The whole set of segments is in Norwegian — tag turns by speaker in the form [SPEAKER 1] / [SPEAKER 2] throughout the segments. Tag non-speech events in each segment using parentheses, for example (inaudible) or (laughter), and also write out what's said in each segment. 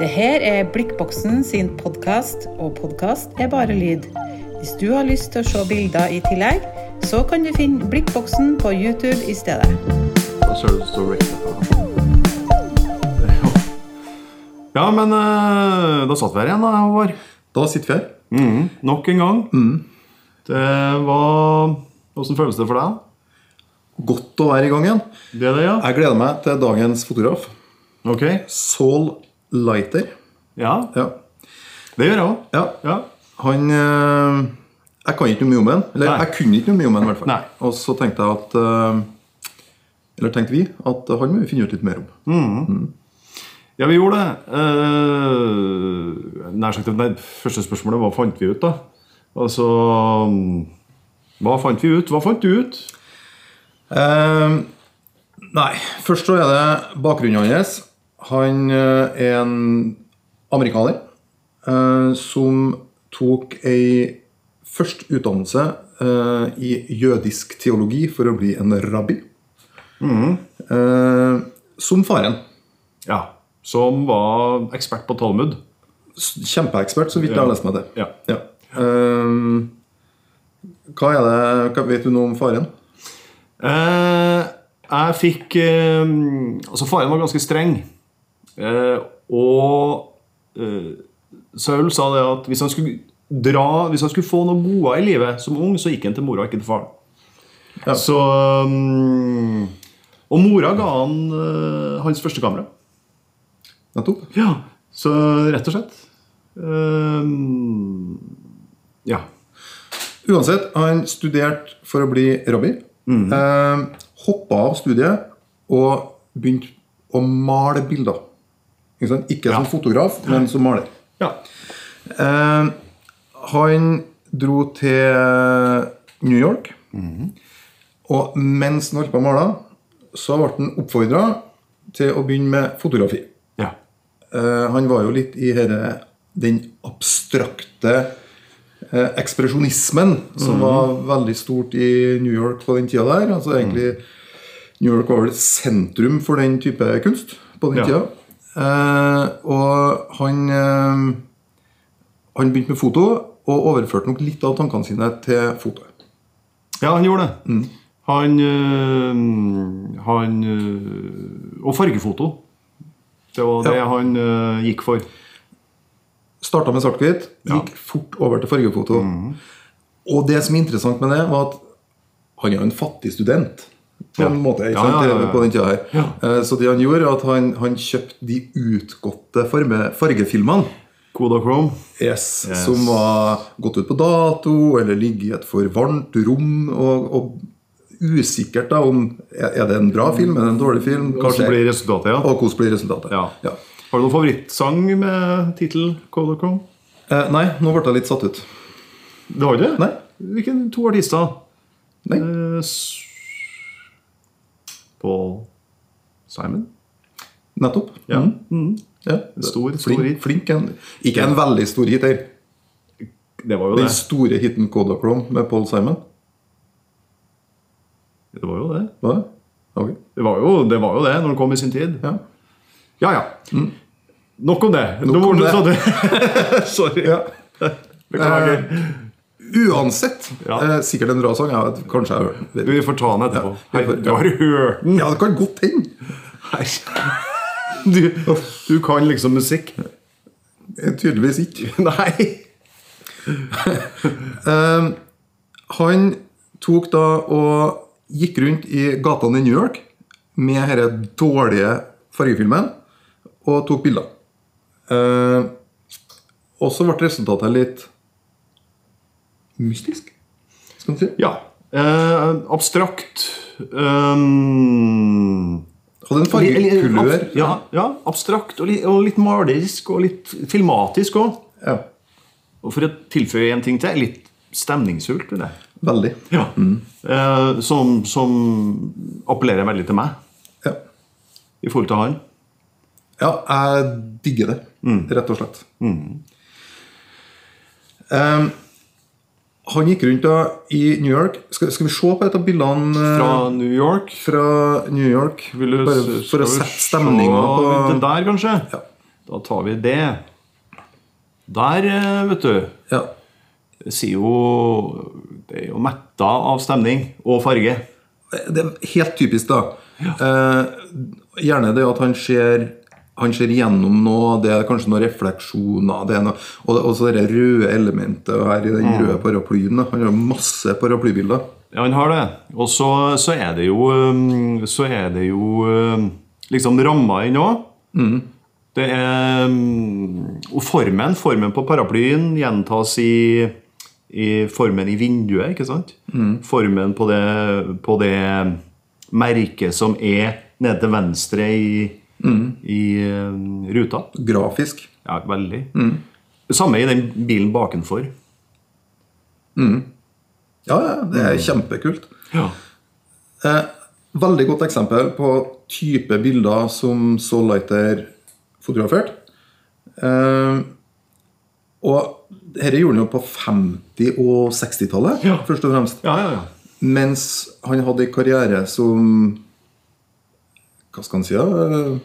[SPEAKER 1] Det her er Blikkboksen sin podkast, og podkast er bare lyd. Hvis du har lyst til å se bilder i tillegg, så kan du finne Blikkboksen på YouTube i stedet.
[SPEAKER 2] Da ser det ut som det står Rick der, da. Ja, men eh, da satt vi her igjen, da, Håvard.
[SPEAKER 3] Da sitter vi her.
[SPEAKER 2] Nok en gang. Det var Åssen føles det for deg?
[SPEAKER 3] Godt å være i gang igjen.
[SPEAKER 2] Det er det, ja?
[SPEAKER 3] Jeg gleder meg til dagens fotograf.
[SPEAKER 2] Ok.
[SPEAKER 3] Saul Lighter.
[SPEAKER 2] Ja,
[SPEAKER 3] Ja.
[SPEAKER 2] det gjør jeg òg.
[SPEAKER 3] ja.
[SPEAKER 2] Ja.
[SPEAKER 3] Han eh, Jeg kan ikke noe mye om han. Eller
[SPEAKER 2] Nei.
[SPEAKER 3] jeg kunne ikke noe mye om han, i hvert fall.
[SPEAKER 2] Nei.
[SPEAKER 3] Og så tenkte jeg at eh, Eller tenkte vi at han må vi finne ut litt mer om.
[SPEAKER 2] ja, vi gjorde det. Eh, nær sagt, det første spørsmålet hva fant vi ut, da? Altså Hva fant vi ut? Hva fant du ut?
[SPEAKER 3] Eh, nei. Først så er det bakgrunnen hans. Han eh, er en amerikaner eh, som tok ei først utdannelse eh, i jødisk teologi for å bli en rabbi.
[SPEAKER 2] Mm-hmm.
[SPEAKER 3] Eh, som faren.
[SPEAKER 2] Ja. Som var ekspert på Talmud.
[SPEAKER 3] S- Kjempeekspert, så vidt jeg har lest meg til.
[SPEAKER 2] Ja.
[SPEAKER 3] Eh, hva er det hva Vet du noe om faren?
[SPEAKER 2] Eh, jeg fikk eh, Altså, faren var ganske streng. Eh, og eh, Saul sa det at hvis han skulle dra Hvis han skulle få noe goder i livet som ung, så gikk han til mora, ikke til faren.
[SPEAKER 3] Ja.
[SPEAKER 2] Så mm, Og mora ga han eh, hans første kamera.
[SPEAKER 3] Nettopp.
[SPEAKER 2] Ja, Så rett og slett eh, Ja.
[SPEAKER 3] Uansett, han studerte for å bli rabbi. Eh, Hoppa av studiet og begynte å male bilder. Ikke, sant? ikke som fotograf, men som maler.
[SPEAKER 2] ja.
[SPEAKER 3] Eh, han dro til New York. Og mens han holdt på å male, så ble han oppfordra til å begynne med fotografi.
[SPEAKER 2] ja.
[SPEAKER 3] Eh, han var jo litt i herre, den abstrakte eh, ekspresjonismen som var veldig stort i New York på den tida der. Altså egentlig New York var vel et sentrum for den type kunst på den
[SPEAKER 2] Ja.
[SPEAKER 3] tida. Eh, og han eh, Han begynte med foto og overførte nok litt av tankene sine til fotoet.
[SPEAKER 2] Ja, han gjorde det.
[SPEAKER 3] Mm.
[SPEAKER 2] Han, øh, han øh, Og fargefoto. Det var det
[SPEAKER 3] Ja.
[SPEAKER 2] han øh, gikk for.
[SPEAKER 3] Starta med svart-hvitt, gikk fort over til fargefoto.
[SPEAKER 2] Mhm.
[SPEAKER 3] Og det som er interessant med det, var at han er jo en fattig student. På
[SPEAKER 2] Ja.
[SPEAKER 3] en måte, ikke
[SPEAKER 2] Ja,
[SPEAKER 3] sant?
[SPEAKER 2] ja, ja, ja.
[SPEAKER 3] På den tida her. Eh, Så det han gjorde, var at han, han kjøpte de utgåtte farge, fargefilmene.
[SPEAKER 2] Kodachrome.
[SPEAKER 3] Yes, Som var gått ut på dato, eller ligget i et for varmt rom. Og, og usikkert da om er er det en bra film, er det en dårlig film, hva
[SPEAKER 2] Hvordan
[SPEAKER 3] skjer,
[SPEAKER 2] blir resultatet, ja.
[SPEAKER 3] og hvordan blir resultatet.
[SPEAKER 2] ja.
[SPEAKER 3] Ja.
[SPEAKER 2] Har du noen favorittsang med tittel Kodachrome?
[SPEAKER 3] Eh, nei, nå ble jeg litt satt ut.
[SPEAKER 2] Det har du?
[SPEAKER 3] Nei.
[SPEAKER 2] Hvilke to artister?
[SPEAKER 3] Nei.
[SPEAKER 2] Eh, s- Paul Simon?
[SPEAKER 3] Nettopp.
[SPEAKER 2] Ja.
[SPEAKER 3] Mhm. Ja.
[SPEAKER 2] Stor- stor
[SPEAKER 3] flink,
[SPEAKER 2] hit.
[SPEAKER 3] flink en, Ikke en veldig stor hit her.
[SPEAKER 2] Det var jo
[SPEAKER 3] Den
[SPEAKER 2] det.
[SPEAKER 3] store hiten Kodachrome med Paul Simon.
[SPEAKER 2] Det var jo det.
[SPEAKER 3] Var det? Ok.
[SPEAKER 2] Det var jo det, var jo det når det kom i sin tid.
[SPEAKER 3] Ja. Mm.
[SPEAKER 2] Ja, ja. Nok om det.
[SPEAKER 3] Nok
[SPEAKER 2] Nå
[SPEAKER 3] om
[SPEAKER 2] var
[SPEAKER 3] det.
[SPEAKER 2] det.
[SPEAKER 3] (laughs)
[SPEAKER 2] sånn- Sorry.
[SPEAKER 3] Ja.
[SPEAKER 2] Beklager.
[SPEAKER 3] Uansett,
[SPEAKER 2] Ja.
[SPEAKER 3] eh, sikkert en bra sang. Jeg vet, kanskje jeg vet.
[SPEAKER 2] Eh, Vi får ta den etterpå.
[SPEAKER 3] Ja, vi
[SPEAKER 2] Hei,
[SPEAKER 3] får-
[SPEAKER 2] du har hørt den!
[SPEAKER 3] Ja, det kan godt hende.
[SPEAKER 2] (laughs) Du, du kan liksom musikk.
[SPEAKER 3] (laughs) Eh, Tydeligvis ikke.
[SPEAKER 2] Nei!
[SPEAKER 3] Eh, han tok da og gikk rundt i gatene i New York med denne dårlige fargefilmen og tok bilder. Eh, og så ble resultatet litt mystisk, skal man si.
[SPEAKER 2] Ja. Eh, abstrakt. ehm, Um,
[SPEAKER 3] Hadde en fargekulør.
[SPEAKER 2] Ja, ja, abstrakt og litt, og litt malerisk og litt filmatisk òg.
[SPEAKER 3] Ja,
[SPEAKER 2] Og for å tilføye en ting til litt stemningsfullt. vil jeg.
[SPEAKER 3] veldig.
[SPEAKER 2] Ja.
[SPEAKER 3] Mm.
[SPEAKER 2] Eh, som, som appellerer veldig til meg
[SPEAKER 3] Ja.
[SPEAKER 2] i forhold til han.
[SPEAKER 3] ja, jeg digger det,
[SPEAKER 2] Mm.
[SPEAKER 3] rett og slett. Eh, han gikk rundt da i New York. Skal, skal vi se på et av bildene? eh,
[SPEAKER 2] Fra New York.
[SPEAKER 3] fra New York.
[SPEAKER 2] Vil du,
[SPEAKER 3] bare for
[SPEAKER 2] skal
[SPEAKER 3] å
[SPEAKER 2] vi
[SPEAKER 3] sette stemninga
[SPEAKER 2] se
[SPEAKER 3] på
[SPEAKER 2] litt der, kanskje?
[SPEAKER 3] Ja.
[SPEAKER 2] Da tar vi det. Der, eh, vet du
[SPEAKER 3] Ja.
[SPEAKER 2] det sier jo Det er jo metta av stemning og farge.
[SPEAKER 3] Det er helt typisk, da. Eh, gjerne det at han ser han ser gjennom noe, det er kanskje noen refleksjoner det er noe, Og, og så det røde elementet her i den røde paraplyen. da. Han har masse paraplybilder.
[SPEAKER 2] Ja, han har det. Og så, så er det jo um, Så er det jo um, liksom ramma inn òg. Det er um, Og formen, formen på paraplyen gjentas i, i formen i vinduet, ikke sant? Formen på det, på det merket som er nede til venstre i, i um, ruta.
[SPEAKER 3] Grafisk.
[SPEAKER 2] Ja, veldig. Samme i den bilen bakenfor.
[SPEAKER 3] Ja, ja, det er kjempekult.
[SPEAKER 2] Ja.
[SPEAKER 3] Eh, veldig godt eksempel på type bilder som Saul Lighter fotografert. Eh, og dette gjorde han jo på 50- og 60-tallet,
[SPEAKER 2] Ja.
[SPEAKER 3] først og fremst.
[SPEAKER 2] Ja, ja, ja.
[SPEAKER 3] Mens han hadde en karriere som Hva skal han si, da? Eh,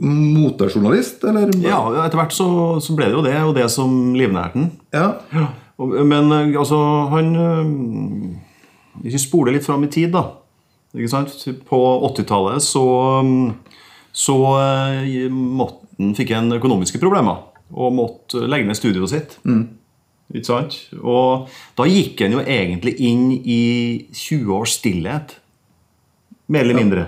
[SPEAKER 3] Motejournalist, eller?
[SPEAKER 2] ja etter hvert så, så ble det jo det, og det som livnærte den.
[SPEAKER 3] Ja.
[SPEAKER 2] Og- Men eh, altså, han eh, Hvis vi spoler litt fram i tid, da. Ikke sant? På 80-tallet så, mm, så eh, måtte han fikk han økonomiske problemer. Og måtte legge ned studioet sitt. Ikke sant? Og da gikk han jo egentlig inn i 20 års stillhet. Mer eller mindre.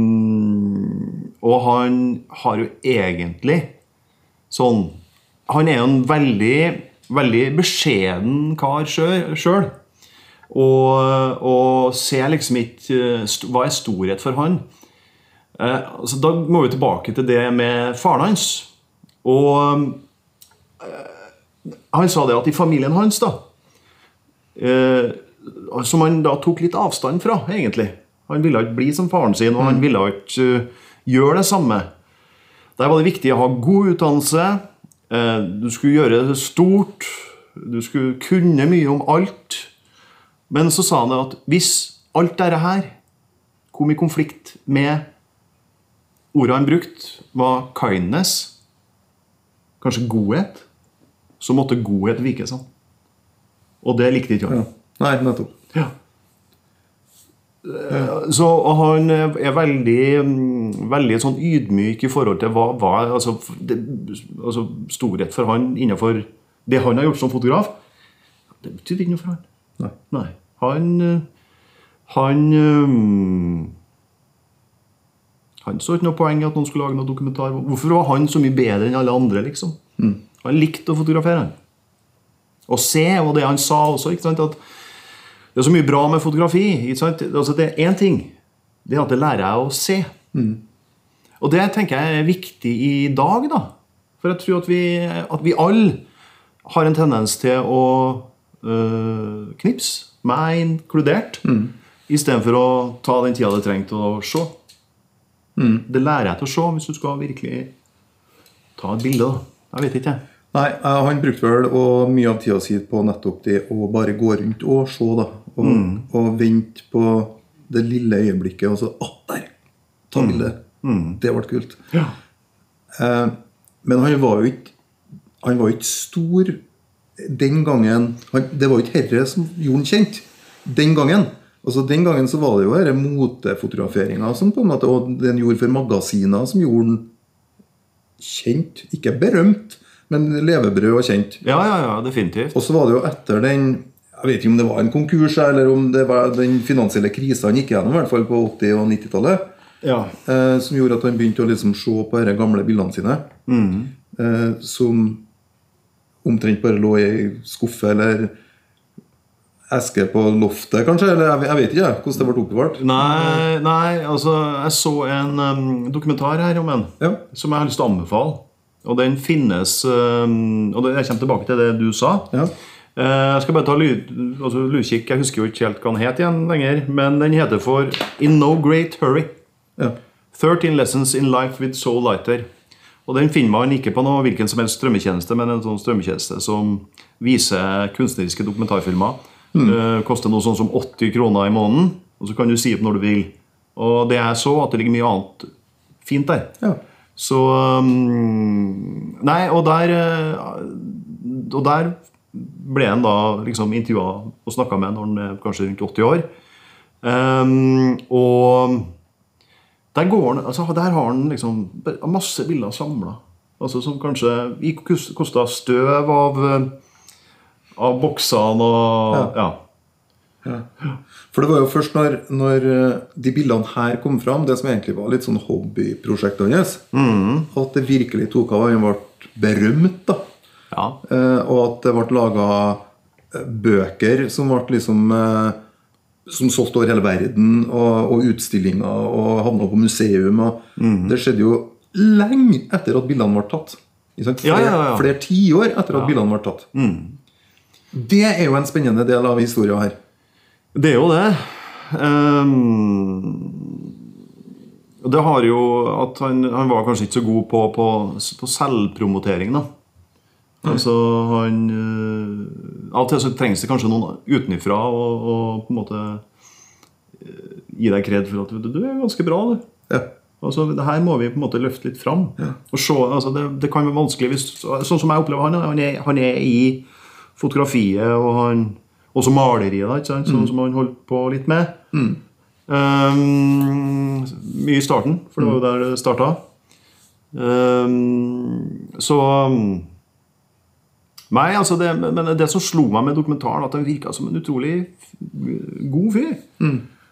[SPEAKER 2] Ehm, og han har jo egentlig sånn Han er jo en veldig, veldig beskjeden kar sjøl. Og, og ser liksom ikke eh, st- Hva er storhet for han? Eh, altså, da må vi tilbake til det med faren hans. Og eh, han sa det at i familien hans, da eh, Som han da tok litt avstand fra, egentlig. Han ville ikke bli som faren sin, og han ville ikke eh, gjøre det samme. Der var det viktig å ha god utdannelse. eh, Du skulle gjøre det stort. Du skulle kunne mye om alt. Men så sa han det at hvis alt dette her kom i konflikt med ordet han brukte, var kindness, kanskje godhet, så måtte godhet vike seg. Og det likte ikke han.
[SPEAKER 3] ja. Nei, nettopp.
[SPEAKER 2] Ja. Eh, Så og han er veldig, mm, veldig sånn ydmyk i forhold til hva, hva altså, f- det, altså storhet for han innenfor det han har gjort som fotograf. Det betydde ikke noe for han.
[SPEAKER 3] Nei.
[SPEAKER 2] Nei. Han eh, Han mm, Han så ikke noe poeng i at noen skulle lage noe dokumentar. Hvorfor var han så mye bedre enn alle andre? liksom? Han likte å fotografere. han. Å se, og det han sa også. ikke sant, at det er så mye bra med fotografi. Ikke sant? Altså, det er én ting. Det er at det lærer jeg å se. Og det tenker jeg er viktig i dag, da. For jeg tror at vi, at vi alle har en tendens til å øh, knipse, meg inkludert,
[SPEAKER 3] Mm.
[SPEAKER 2] i stedet istedenfor å ta den tida det trenger til å se.
[SPEAKER 3] Mm.
[SPEAKER 2] Det lærer jeg til å se hvis du skal virkelig ta et bilde. da. Jeg vet ikke, jeg.
[SPEAKER 3] Nei, eh, han brukte vel og mye av tida si på nettopp det å bare gå rundt og se, da. Og, og vente på det lille øyeblikket, og så Å, der! Ta bilde. Det ble kult. Eh, men han var jo ikke Han var jo ikke stor den gangen han, Det var jo ikke herre som gjorde han kjent. Den gangen. Altså Den gangen så var det jo denne motefotograferinga som på en måte, og den gjorde for magasiner, som gjorde han kjent. Ikke berømt, men levebrød og kjent.
[SPEAKER 2] Ja, ja, ja, definitivt.
[SPEAKER 3] Og så var det jo etter den Jeg vet ikke om det var en konkurs, eller om det var den finansielle krisa han gikk gjennom, i hvert fall på 80- og 90-tallet,
[SPEAKER 2] Ja.
[SPEAKER 3] eh, som gjorde at han begynte å liksom se på de gamle bildene sine, eh, som omtrent bare lå i ei skuffe eller eske på loftet, kanskje? Eller jeg, jeg vet ikke jeg, hvordan det ble oppbevart.
[SPEAKER 2] Nei, nei, altså Jeg så en em, dokumentar her om en
[SPEAKER 3] Ja.
[SPEAKER 2] som jeg har lyst til å anbefale. Og den finnes em, Og det, jeg kommer tilbake til det du sa.
[SPEAKER 3] Ja.
[SPEAKER 2] Eh, jeg skal bare ta lyd, altså, lydkikk. Jeg husker jo ikke helt hva den het igjen lenger. Men den heter for In No Great Hurry.
[SPEAKER 3] Ja.
[SPEAKER 2] 13 Lessons in Life with Soul Lighter. Og den finner man ikke på noe, hvilken som helst strømmetjeneste, men en sånn strømmetjeneste som viser kunstneriske dokumentarfilmer. Eh, koster noe sånn som 80 kroner i måneden, og så kan du si opp når du vil. Og det jeg så, at det ligger mye annet fint der.
[SPEAKER 3] Ja.
[SPEAKER 2] Så um, Nei, og der eh, Og der ble han da liksom intervjua og snakka med når han er kanskje rundt 80 år. Um, og der, går han, altså, der har han liksom masse bilder samla. Altså, som kanskje gikk- kosta støv av, eh, av boksene og ja.
[SPEAKER 3] For det var jo først når, når eh, de bildene her kom fram, det som egentlig var litt sånn hobbyprosjektet hans, at det virkelig tok av. Han ble berømt, da.
[SPEAKER 2] ja.
[SPEAKER 3] Eh, og at det ble laga bøker som ble liksom eh, Som solgte over hele verden, og, og utstillinger, og havna på museum. Og
[SPEAKER 2] Mhm.
[SPEAKER 3] Det skjedde jo lenge etter at bildene ble tatt. Ikke sant?
[SPEAKER 2] Ja,
[SPEAKER 3] Flere,
[SPEAKER 2] ja, ja. Mhm.
[SPEAKER 3] flere tiår etter at bildene ble tatt. Det er jo en spennende del av historia her.
[SPEAKER 2] Det er jo det. Ehm, og det har jo at han, han var kanskje ikke så god på, på, på selvpromotering, da. Altså han eh, Av og til så trengs det kanskje noen utenfra og, og på en måte eh, gi deg kred for at du, du er ganske bra, du.
[SPEAKER 3] Ja.
[SPEAKER 2] Altså, det her må vi på en måte løfte litt fram. Og se, altså, det, det kan være vanskelig hvis, Sånn som jeg opplever han. Han er, han er i fotografiet og han, også maleriet, da, ikke sant? sånn som han holdt på litt med. Um, mye i starten, for det var jo der det starta. Um, så um, Nei, altså det, men det som slo meg med dokumentaren, at han virka som en utrolig f- god fyr.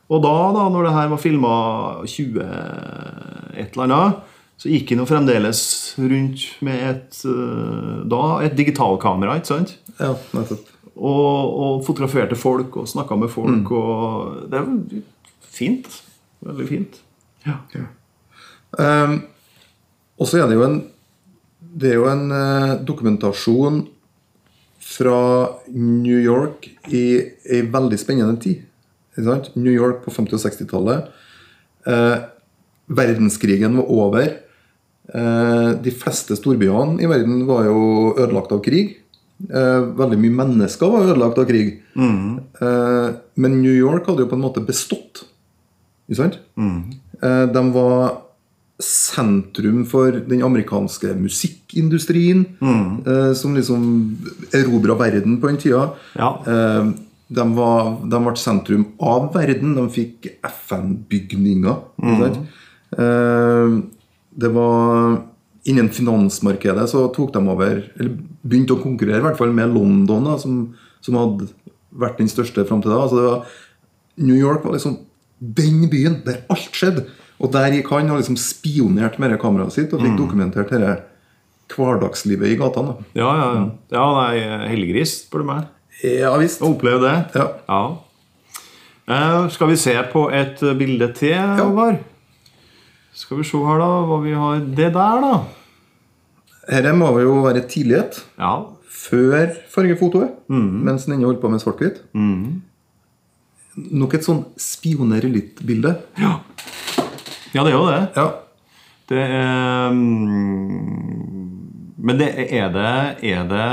[SPEAKER 2] Og da, da når det her var filma 20 et eller annet, så gikk han jo fremdeles rundt med et, eh, da, et digitalkamera. ikke sant?
[SPEAKER 3] ja, nettopp.
[SPEAKER 2] Og, og fotograferte folk og snakka med folk. og Det er jo fint. Veldig fint. Ja.
[SPEAKER 3] Ehm, og så er det jo en Det er jo en eh, dokumentasjon fra New York i ei veldig spennende tid. Ikke sant? New York på 50- og 60-tallet. Eh, verdenskrigen var over. Eh, de fleste storbyene i verden var jo ødelagt av krig. Eh, veldig mye mennesker var ødelagt av krig. Eh, men New York hadde jo på en måte bestått. Ikke sant? Eh, De var sentrum for den amerikanske musikkindustrien, eh, som liksom erobra verden på den tida.
[SPEAKER 2] Ja.
[SPEAKER 3] Eh, De, var, de ble sentrum av verden. De fikk FN-bygninger. ikke sant? Eh, Det var Innen finansmarkedet så tok de over Eller begynte å konkurrere i hvert fall med London, da, som, som hadde vært den største fram til da. Altså det var New York var liksom den byen der alt skjedde. Og der gikk han og liksom spionerte med det kameraet sitt og fikk dokumentert dette hverdagslivet i gatene. da.
[SPEAKER 2] Ja, ja, ja. ja nei, helggris, spør du meg.
[SPEAKER 3] Ja visst.
[SPEAKER 2] Å oppleve det.
[SPEAKER 3] Ja.
[SPEAKER 2] Eh, skal vi se på et eh, bilde til, Håvard? Skal vi se her, da, hva vi har Det der, da.
[SPEAKER 3] Dette må jo være tidlighet,
[SPEAKER 2] Ja.
[SPEAKER 3] før fargefotoet, mens den ennå holdt på med svart-hvitt. Mm. Nok et sånn spioner-litt-bilde.
[SPEAKER 2] ja, det er jo det.
[SPEAKER 3] Ja.
[SPEAKER 2] Det er mm, Men det er det Er det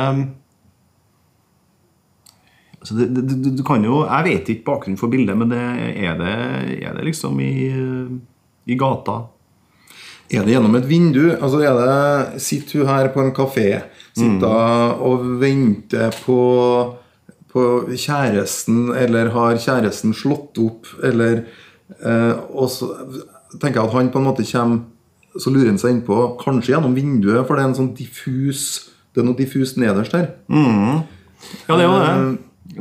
[SPEAKER 2] altså det, det, det, Du kan jo Jeg vet ikke bakgrunnen for bildet, men det er det, er det liksom i, eh, i gata?
[SPEAKER 3] Er det gjennom et vindu? Altså er det, Sitter hun her på en kafé sitter hun og venter på, på kjæresten, eller har kjæresten slått opp, eller eh, Og så tenker jeg at han på en måte kommer Så lurer han seg innpå, kanskje gjennom vinduet, for det er en sånn diffus det er noe diffust nederst der.
[SPEAKER 2] Ja, det er jo det. Eh,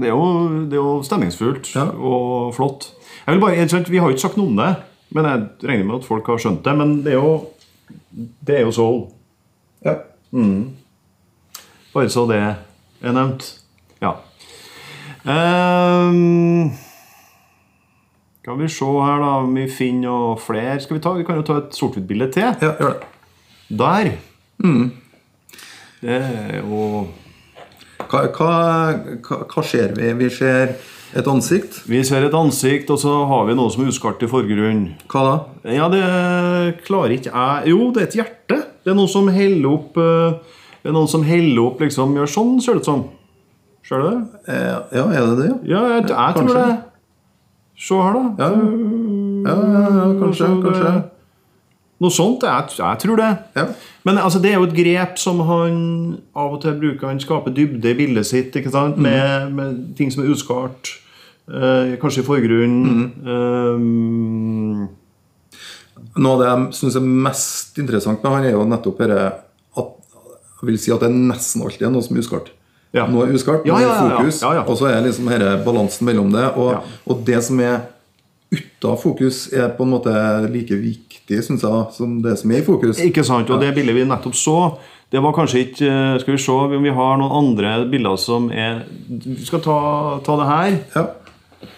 [SPEAKER 2] Det er jo, det er jo stemningsfullt
[SPEAKER 3] Ja.
[SPEAKER 2] og flott. Jeg vil bare, helt sant, Vi har jo ikke sagt noe om det, men jeg regner med at folk har skjønt det. Men det er jo, det er jo soul.
[SPEAKER 3] Ja.
[SPEAKER 2] Bare så det er nevnt. Ja. Ehm, skal vi se her, da, om vi finner noe flere. Skal Vi ta, vi kan jo ta et sort-hvitt-bilde til.
[SPEAKER 3] ja, gjør det.
[SPEAKER 2] Der. Mm. Det er jo
[SPEAKER 3] Hva, hva, hva, hva ser vi? Vi ser et ansikt.
[SPEAKER 2] Vi ser et ansikt, og så har vi noe som er uskart i forgrunnen.
[SPEAKER 3] Hva da?
[SPEAKER 2] Ja, det klarer ikke jeg Jo, det er et hjerte. Det er noen som heller opp eh, Det er noen som heller opp liksom Gjør sånn, ser det ut som. Ser du det?
[SPEAKER 3] Eh, ja, er det det? Ja,
[SPEAKER 2] Ja, jeg, jeg tror
[SPEAKER 3] Kanskje.
[SPEAKER 2] det. Se her, da.
[SPEAKER 3] ja, ja, ja kanskje.
[SPEAKER 2] Altså, det-
[SPEAKER 3] kanskje.
[SPEAKER 2] Noe sånt. Jeg, jeg tror det.
[SPEAKER 3] Ja.
[SPEAKER 2] Men altså, det er jo et grep som han av og til bruker. Han skaper dybde i bildet sitt ikke sant?
[SPEAKER 3] Mhm.
[SPEAKER 2] Med, med ting som er uskart. eh, kanskje i forgrunnen.
[SPEAKER 3] Mhm.
[SPEAKER 2] Eh,
[SPEAKER 3] Noe av det jeg syns er mest interessant med han, er jo nettopp dette at jeg vil si at det er nesten alltid er noe som er uskart.
[SPEAKER 2] Ja.
[SPEAKER 3] Noe er uskart,
[SPEAKER 2] Ja,
[SPEAKER 3] noe
[SPEAKER 2] ja, ja,
[SPEAKER 3] er
[SPEAKER 2] ja.
[SPEAKER 3] fokus,
[SPEAKER 2] Ja, ja.
[SPEAKER 3] og så er liksom dette balansen mellom det. Og,
[SPEAKER 2] Ja.
[SPEAKER 3] og det som er uten fokus, er på en måte like viktig, syns jeg, som det som er i fokus.
[SPEAKER 2] Ikke sant, og det bildet vi nettopp så det var kanskje ikke eh, Skal vi se om vi har noen andre bilder som er Vi skal ta, ta det her,
[SPEAKER 3] Ja.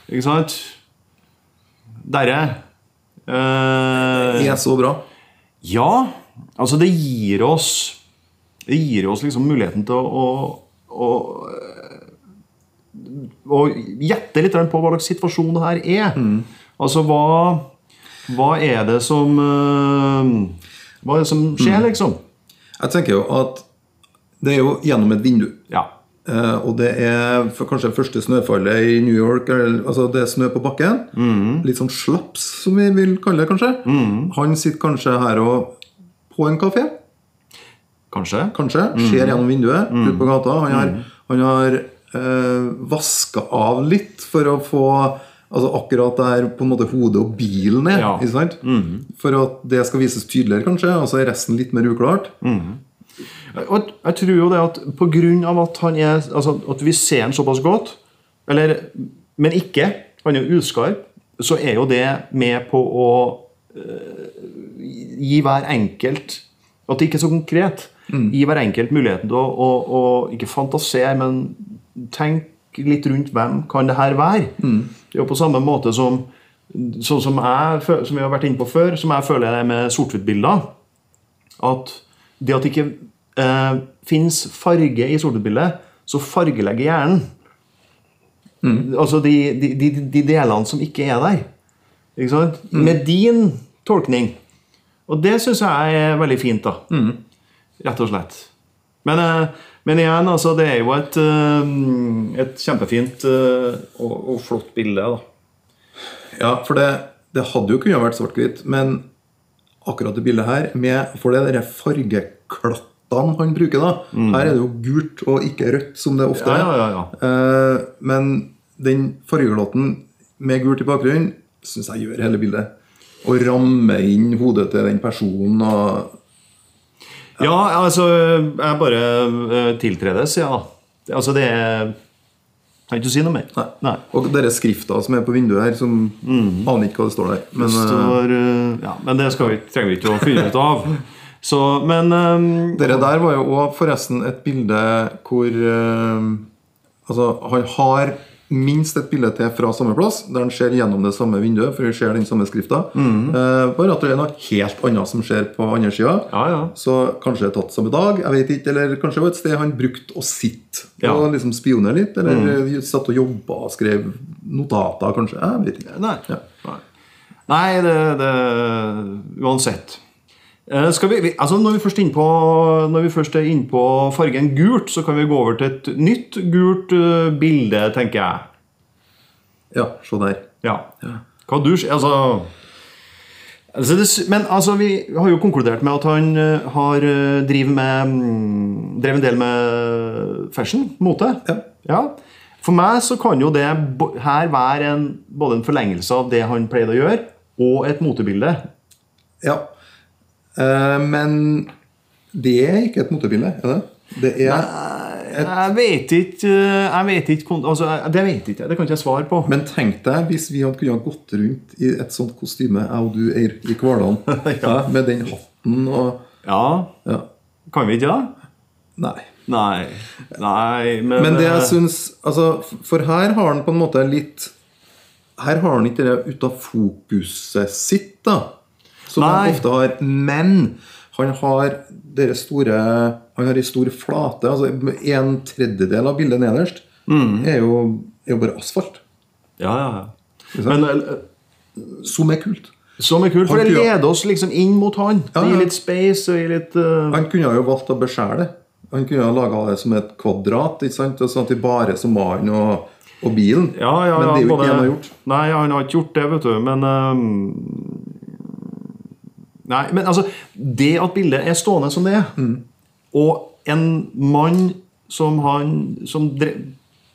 [SPEAKER 2] ikke sant? Derre. Eh,
[SPEAKER 3] Det er så bra.
[SPEAKER 2] ja. Altså, det gir oss Det gir oss liksom muligheten til å, å, å å gjette litt på hva slags situasjon det her er. Altså hva Hva er det som eh, Hva er det som skjer, liksom?
[SPEAKER 3] Jeg tenker jo at det er jo gjennom et vindu.
[SPEAKER 2] Ja.
[SPEAKER 3] Eh, og det er for kanskje første snøfallet i New York. Eller, altså Det er snø på bakken. Litt sånn slaps, som vi vil kalle det, kanskje. Han sitter kanskje her og på en kafé,
[SPEAKER 2] Kanskje.
[SPEAKER 3] kanskje. Ser gjennom vinduet, ut på gata. Han har, han har eh, vaska av litt for å få altså akkurat der på en måte hodet og bilen er.
[SPEAKER 2] Ja.
[SPEAKER 3] Ikke sant? For at det skal vises tydeligere, kanskje. Og så er resten litt mer uklart.
[SPEAKER 2] Og jeg tror jo det at på grunn av at han er Altså at vi ser han såpass godt, eller Men ikke. Han er jo uskarp. Så er jo det med på å eh, gi hver enkelt At det ikke er så konkret. Gi hver enkelt muligheten til å, å, å ikke fantasere, men tenke litt rundt hvem kan det her være. Det er jo på samme måte som sånn som jeg, fø- som vi har vært inne på før, som jeg føler er med sort-hvitt-bilder at det at det ikke eh, fins farge i solbildet, så fargelegger hjernen. Altså de, de, de, de delene som ikke er der. Ikke sant? Med din tolkning. Og det syns jeg er veldig fint, da. Rett og slett. Men, eh, men igjen, altså, det er jo et, eh, et kjempefint eh, og, og flott bilde, da.
[SPEAKER 3] Ja, for det, det hadde jo kunnet vært svart-hvitt, men akkurat det bildet her, med, for det er de der fargeklattene han bruker da, her er det jo gult og ikke rødt, som det ofte
[SPEAKER 2] Mm. Ja, ja,
[SPEAKER 3] er.
[SPEAKER 2] ja, ja.
[SPEAKER 3] Eh, men den fargeklatten med gult i bakgrunnen, synes jeg gjør hele bildet. Og rammer inn hodet til den personen, og
[SPEAKER 2] Ja, altså Jeg bare eh, tiltredes, ja. Altså, det er Kan ikke si noe mer.
[SPEAKER 3] Nei. Og dere skrifta som er på vinduet her, som aner ikke hva det står der. Men,
[SPEAKER 2] Mm. Det
[SPEAKER 3] eh,
[SPEAKER 2] står, eh, ja, men det skal vi, trenger vi ikke å finne ut
[SPEAKER 3] (laughs)
[SPEAKER 2] av. Så, men eh,
[SPEAKER 3] Dere der var jo òg forresten et bilde hvor eh, Altså, han har minst et bilde til fra samme plass, der han ser gjennom det samme vinduet, for vi ser den samme skrifta.
[SPEAKER 2] Mhm.
[SPEAKER 3] Eh, bare at det er noe helt annet som skjer på andre sida.
[SPEAKER 2] Ja, ja.
[SPEAKER 3] Så kanskje det er tatt samme dag, jeg vet ikke, eller kanskje det var et sted han brukte å sitte
[SPEAKER 2] Ja. Mhm.
[SPEAKER 3] og liksom spionere litt, eller satt og jobba og skrev notater, kanskje. Jeg vet ikke.
[SPEAKER 2] Nei.
[SPEAKER 3] Ja.
[SPEAKER 2] Nei. Nei, det, det Uansett. Eh, Skal vi, vi, altså når, vi først er inn på, når vi først er inne på fargen gult, så kan vi gå over til et nytt gult eh, bilde, tenker jeg.
[SPEAKER 3] ja, se der.
[SPEAKER 2] Ja. Hva du s- Altså, altså det, s- Men altså, vi har jo konkludert med at han eh, har eh, driver med mm, Drev en del med fashion, mote.
[SPEAKER 3] Ja.
[SPEAKER 2] For meg så kan jo det bo- her være en, både en forlengelse av det han pleide å gjøre, og et motebilde.
[SPEAKER 3] Ja. Eh, men det er ikke et motebilde, er det? Det er Eh,
[SPEAKER 2] Jeg vet ikke eh, Jeg vet ikke kon- altså, jeg- Det vet ikke jeg. Det kan ikke jeg svare på.
[SPEAKER 3] Men tenk deg hvis vi hadde kunnet gått rundt i et sånt kostyme, jeg og du, Eir, i Kvaland. Hæ? Med den hatten og
[SPEAKER 2] Ja,
[SPEAKER 3] ja.
[SPEAKER 2] Kan vi ikke det?
[SPEAKER 3] Nei.
[SPEAKER 2] Nei. Nei, men,
[SPEAKER 3] Men det
[SPEAKER 2] eh,
[SPEAKER 3] jeg syns altså, For her har han på en måte litt Her har han ikke det ut av fokuset sitt, da. Som
[SPEAKER 2] Nei.
[SPEAKER 3] han ofte har. Men han har dere store Han har ei stor flate. Altså en tredjedel av bildet nederst
[SPEAKER 2] Mm.
[SPEAKER 3] er, jo, er jo bare asfalt.
[SPEAKER 2] Ja, ja, ja. Men eh,
[SPEAKER 3] Som er kult.
[SPEAKER 2] Som er kult, for
[SPEAKER 3] Han
[SPEAKER 2] det
[SPEAKER 3] kunne-
[SPEAKER 2] leder oss liksom inn mot han.
[SPEAKER 3] Ja,
[SPEAKER 2] Det
[SPEAKER 3] ja.
[SPEAKER 2] gir litt space og gir litt eh,
[SPEAKER 3] Han kunne jo valgt å beskjære det. Han kunne ha laga det som et kvadrat. ikke sant? Og Sånn at de bare som mannen og, og bilen.
[SPEAKER 2] Ja, ja,
[SPEAKER 3] Men
[SPEAKER 2] ja.
[SPEAKER 3] det er jo ikke
[SPEAKER 2] både-
[SPEAKER 3] det han har gjort.
[SPEAKER 2] Nei, han har ikke gjort det, vet du. Men eh, ehm, Nei, men altså, det at bildet er stående som det er,
[SPEAKER 3] Mm.
[SPEAKER 2] og en mann som han som drev,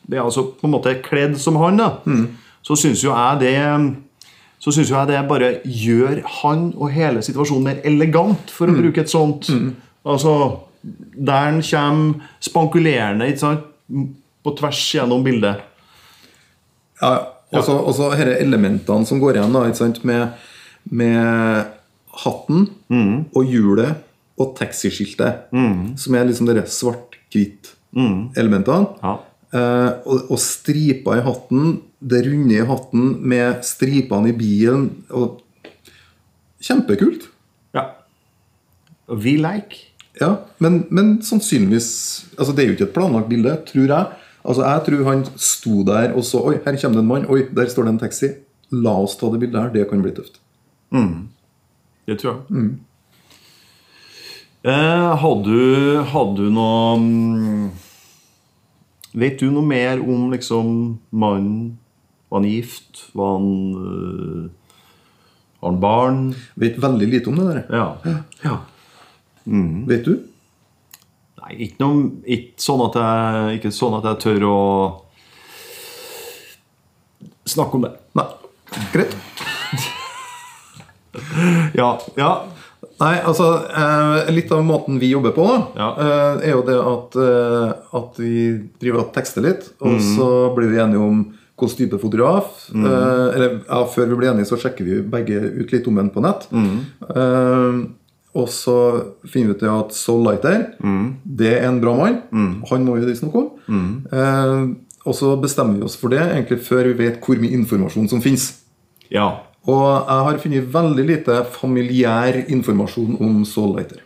[SPEAKER 2] Det er altså på en måte kledd som han, da.
[SPEAKER 3] Mm.
[SPEAKER 2] Så syns jo jeg det så synes jo jeg det bare gjør han og hele situasjonen mer elegant, for å
[SPEAKER 3] Mm.
[SPEAKER 2] bruke et sånt. Altså, Der han kommer spankulerende ikke sant? på tvers gjennom bildet.
[SPEAKER 3] Ja, og så og så disse elementene som går igjen da, ikke sant? Med, med hatten og hjulet og taxiskiltet, som er liksom de svart-hvitt-elementene.
[SPEAKER 2] Ja.
[SPEAKER 3] Eh, og, og stripa i hatten, det runde i hatten med stripene i bilen. Og kjempekult.
[SPEAKER 2] Ja. Vi like.
[SPEAKER 3] Ja, men, men sannsynligvis altså Det er jo ikke et planlagt bilde, tror jeg. Altså Jeg tror han sto der og så Oi, her kommer det en mann. Oi, der står det en taxi. La oss ta det bildet her. Det kan bli tøft.
[SPEAKER 2] Det tror jeg. Eh, hadde, du- hadde du noe mm, Vet du noe mer om liksom mannen? Var han gift? Var han eh, Har han barn?
[SPEAKER 3] Vet veldig lite om det der.
[SPEAKER 2] Ja. ja.
[SPEAKER 3] Vet du?
[SPEAKER 2] Nei, ikke, noe, ikke, sånn at jeg, ikke sånn at jeg tør å snakke om det.
[SPEAKER 3] Nei. Greit.
[SPEAKER 2] Ja. ja.
[SPEAKER 3] Nei, altså eh, Litt av måten vi jobber på, da,
[SPEAKER 2] Ja.
[SPEAKER 3] eh, er jo det at, eh, at vi driver og tekster litt. Og så blir vi enige om hvilken type fotograf. Eh, eller ja, Før vi blir enige, så sjekker vi begge ut litt om den på nett. Eh, og så finner vi ut det at Sol Lighter det er en bra mann. Han må vi vite noe om. Eh, og så bestemmer vi oss for det egentlig før vi vet hvor mye informasjon som fins.
[SPEAKER 2] ja.
[SPEAKER 3] Og jeg har funnet veldig lite familiær informasjon om Soul Lighter.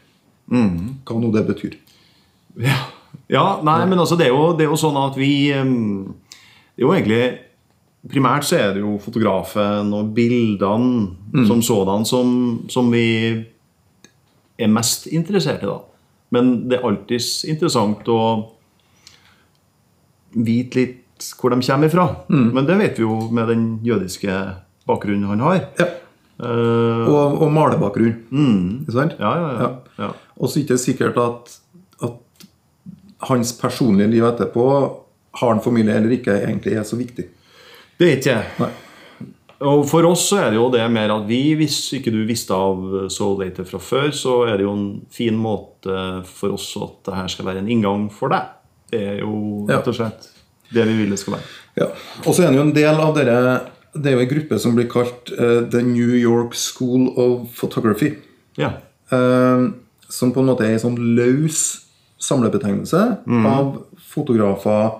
[SPEAKER 2] Mm.
[SPEAKER 3] Hva nå det betyr.
[SPEAKER 2] Ja, ja nei, men altså det er, jo, det er jo sånn at vi ehm, Det er jo egentlig Primært så er det jo fotografen og bildene som sådan som, som vi er mest interessert i, da. Men det er alltids interessant å vite litt hvor de kommer ifra. Men det vet vi jo med den jødiske bakgrunnen han har.
[SPEAKER 3] Ja.
[SPEAKER 2] Eh, Mm.
[SPEAKER 3] Og, og malebakgrunn. Ikke sant?
[SPEAKER 2] ja, ja, ja. ja.
[SPEAKER 3] Og så er det ikke sikkert at, at hans personlige liv etterpå, har han familie eller ikke, egentlig er så viktig.
[SPEAKER 2] Det vet jeg. Og for oss så er det jo det mer at vi, hvis ikke du visste av Soul Later fra før, så er det jo en fin måte for oss at det her skal være en inngang for deg. Det er jo
[SPEAKER 3] Ja.
[SPEAKER 2] rett og slett det vi vil det skal være.
[SPEAKER 3] Ja. Og så er han jo en del av dere Det er jo en gruppe som blir kalt eh, The New York School of Photography.
[SPEAKER 2] Ja.
[SPEAKER 3] Eh, som på en måte er en sånn løs samlebetegnelse av fotografer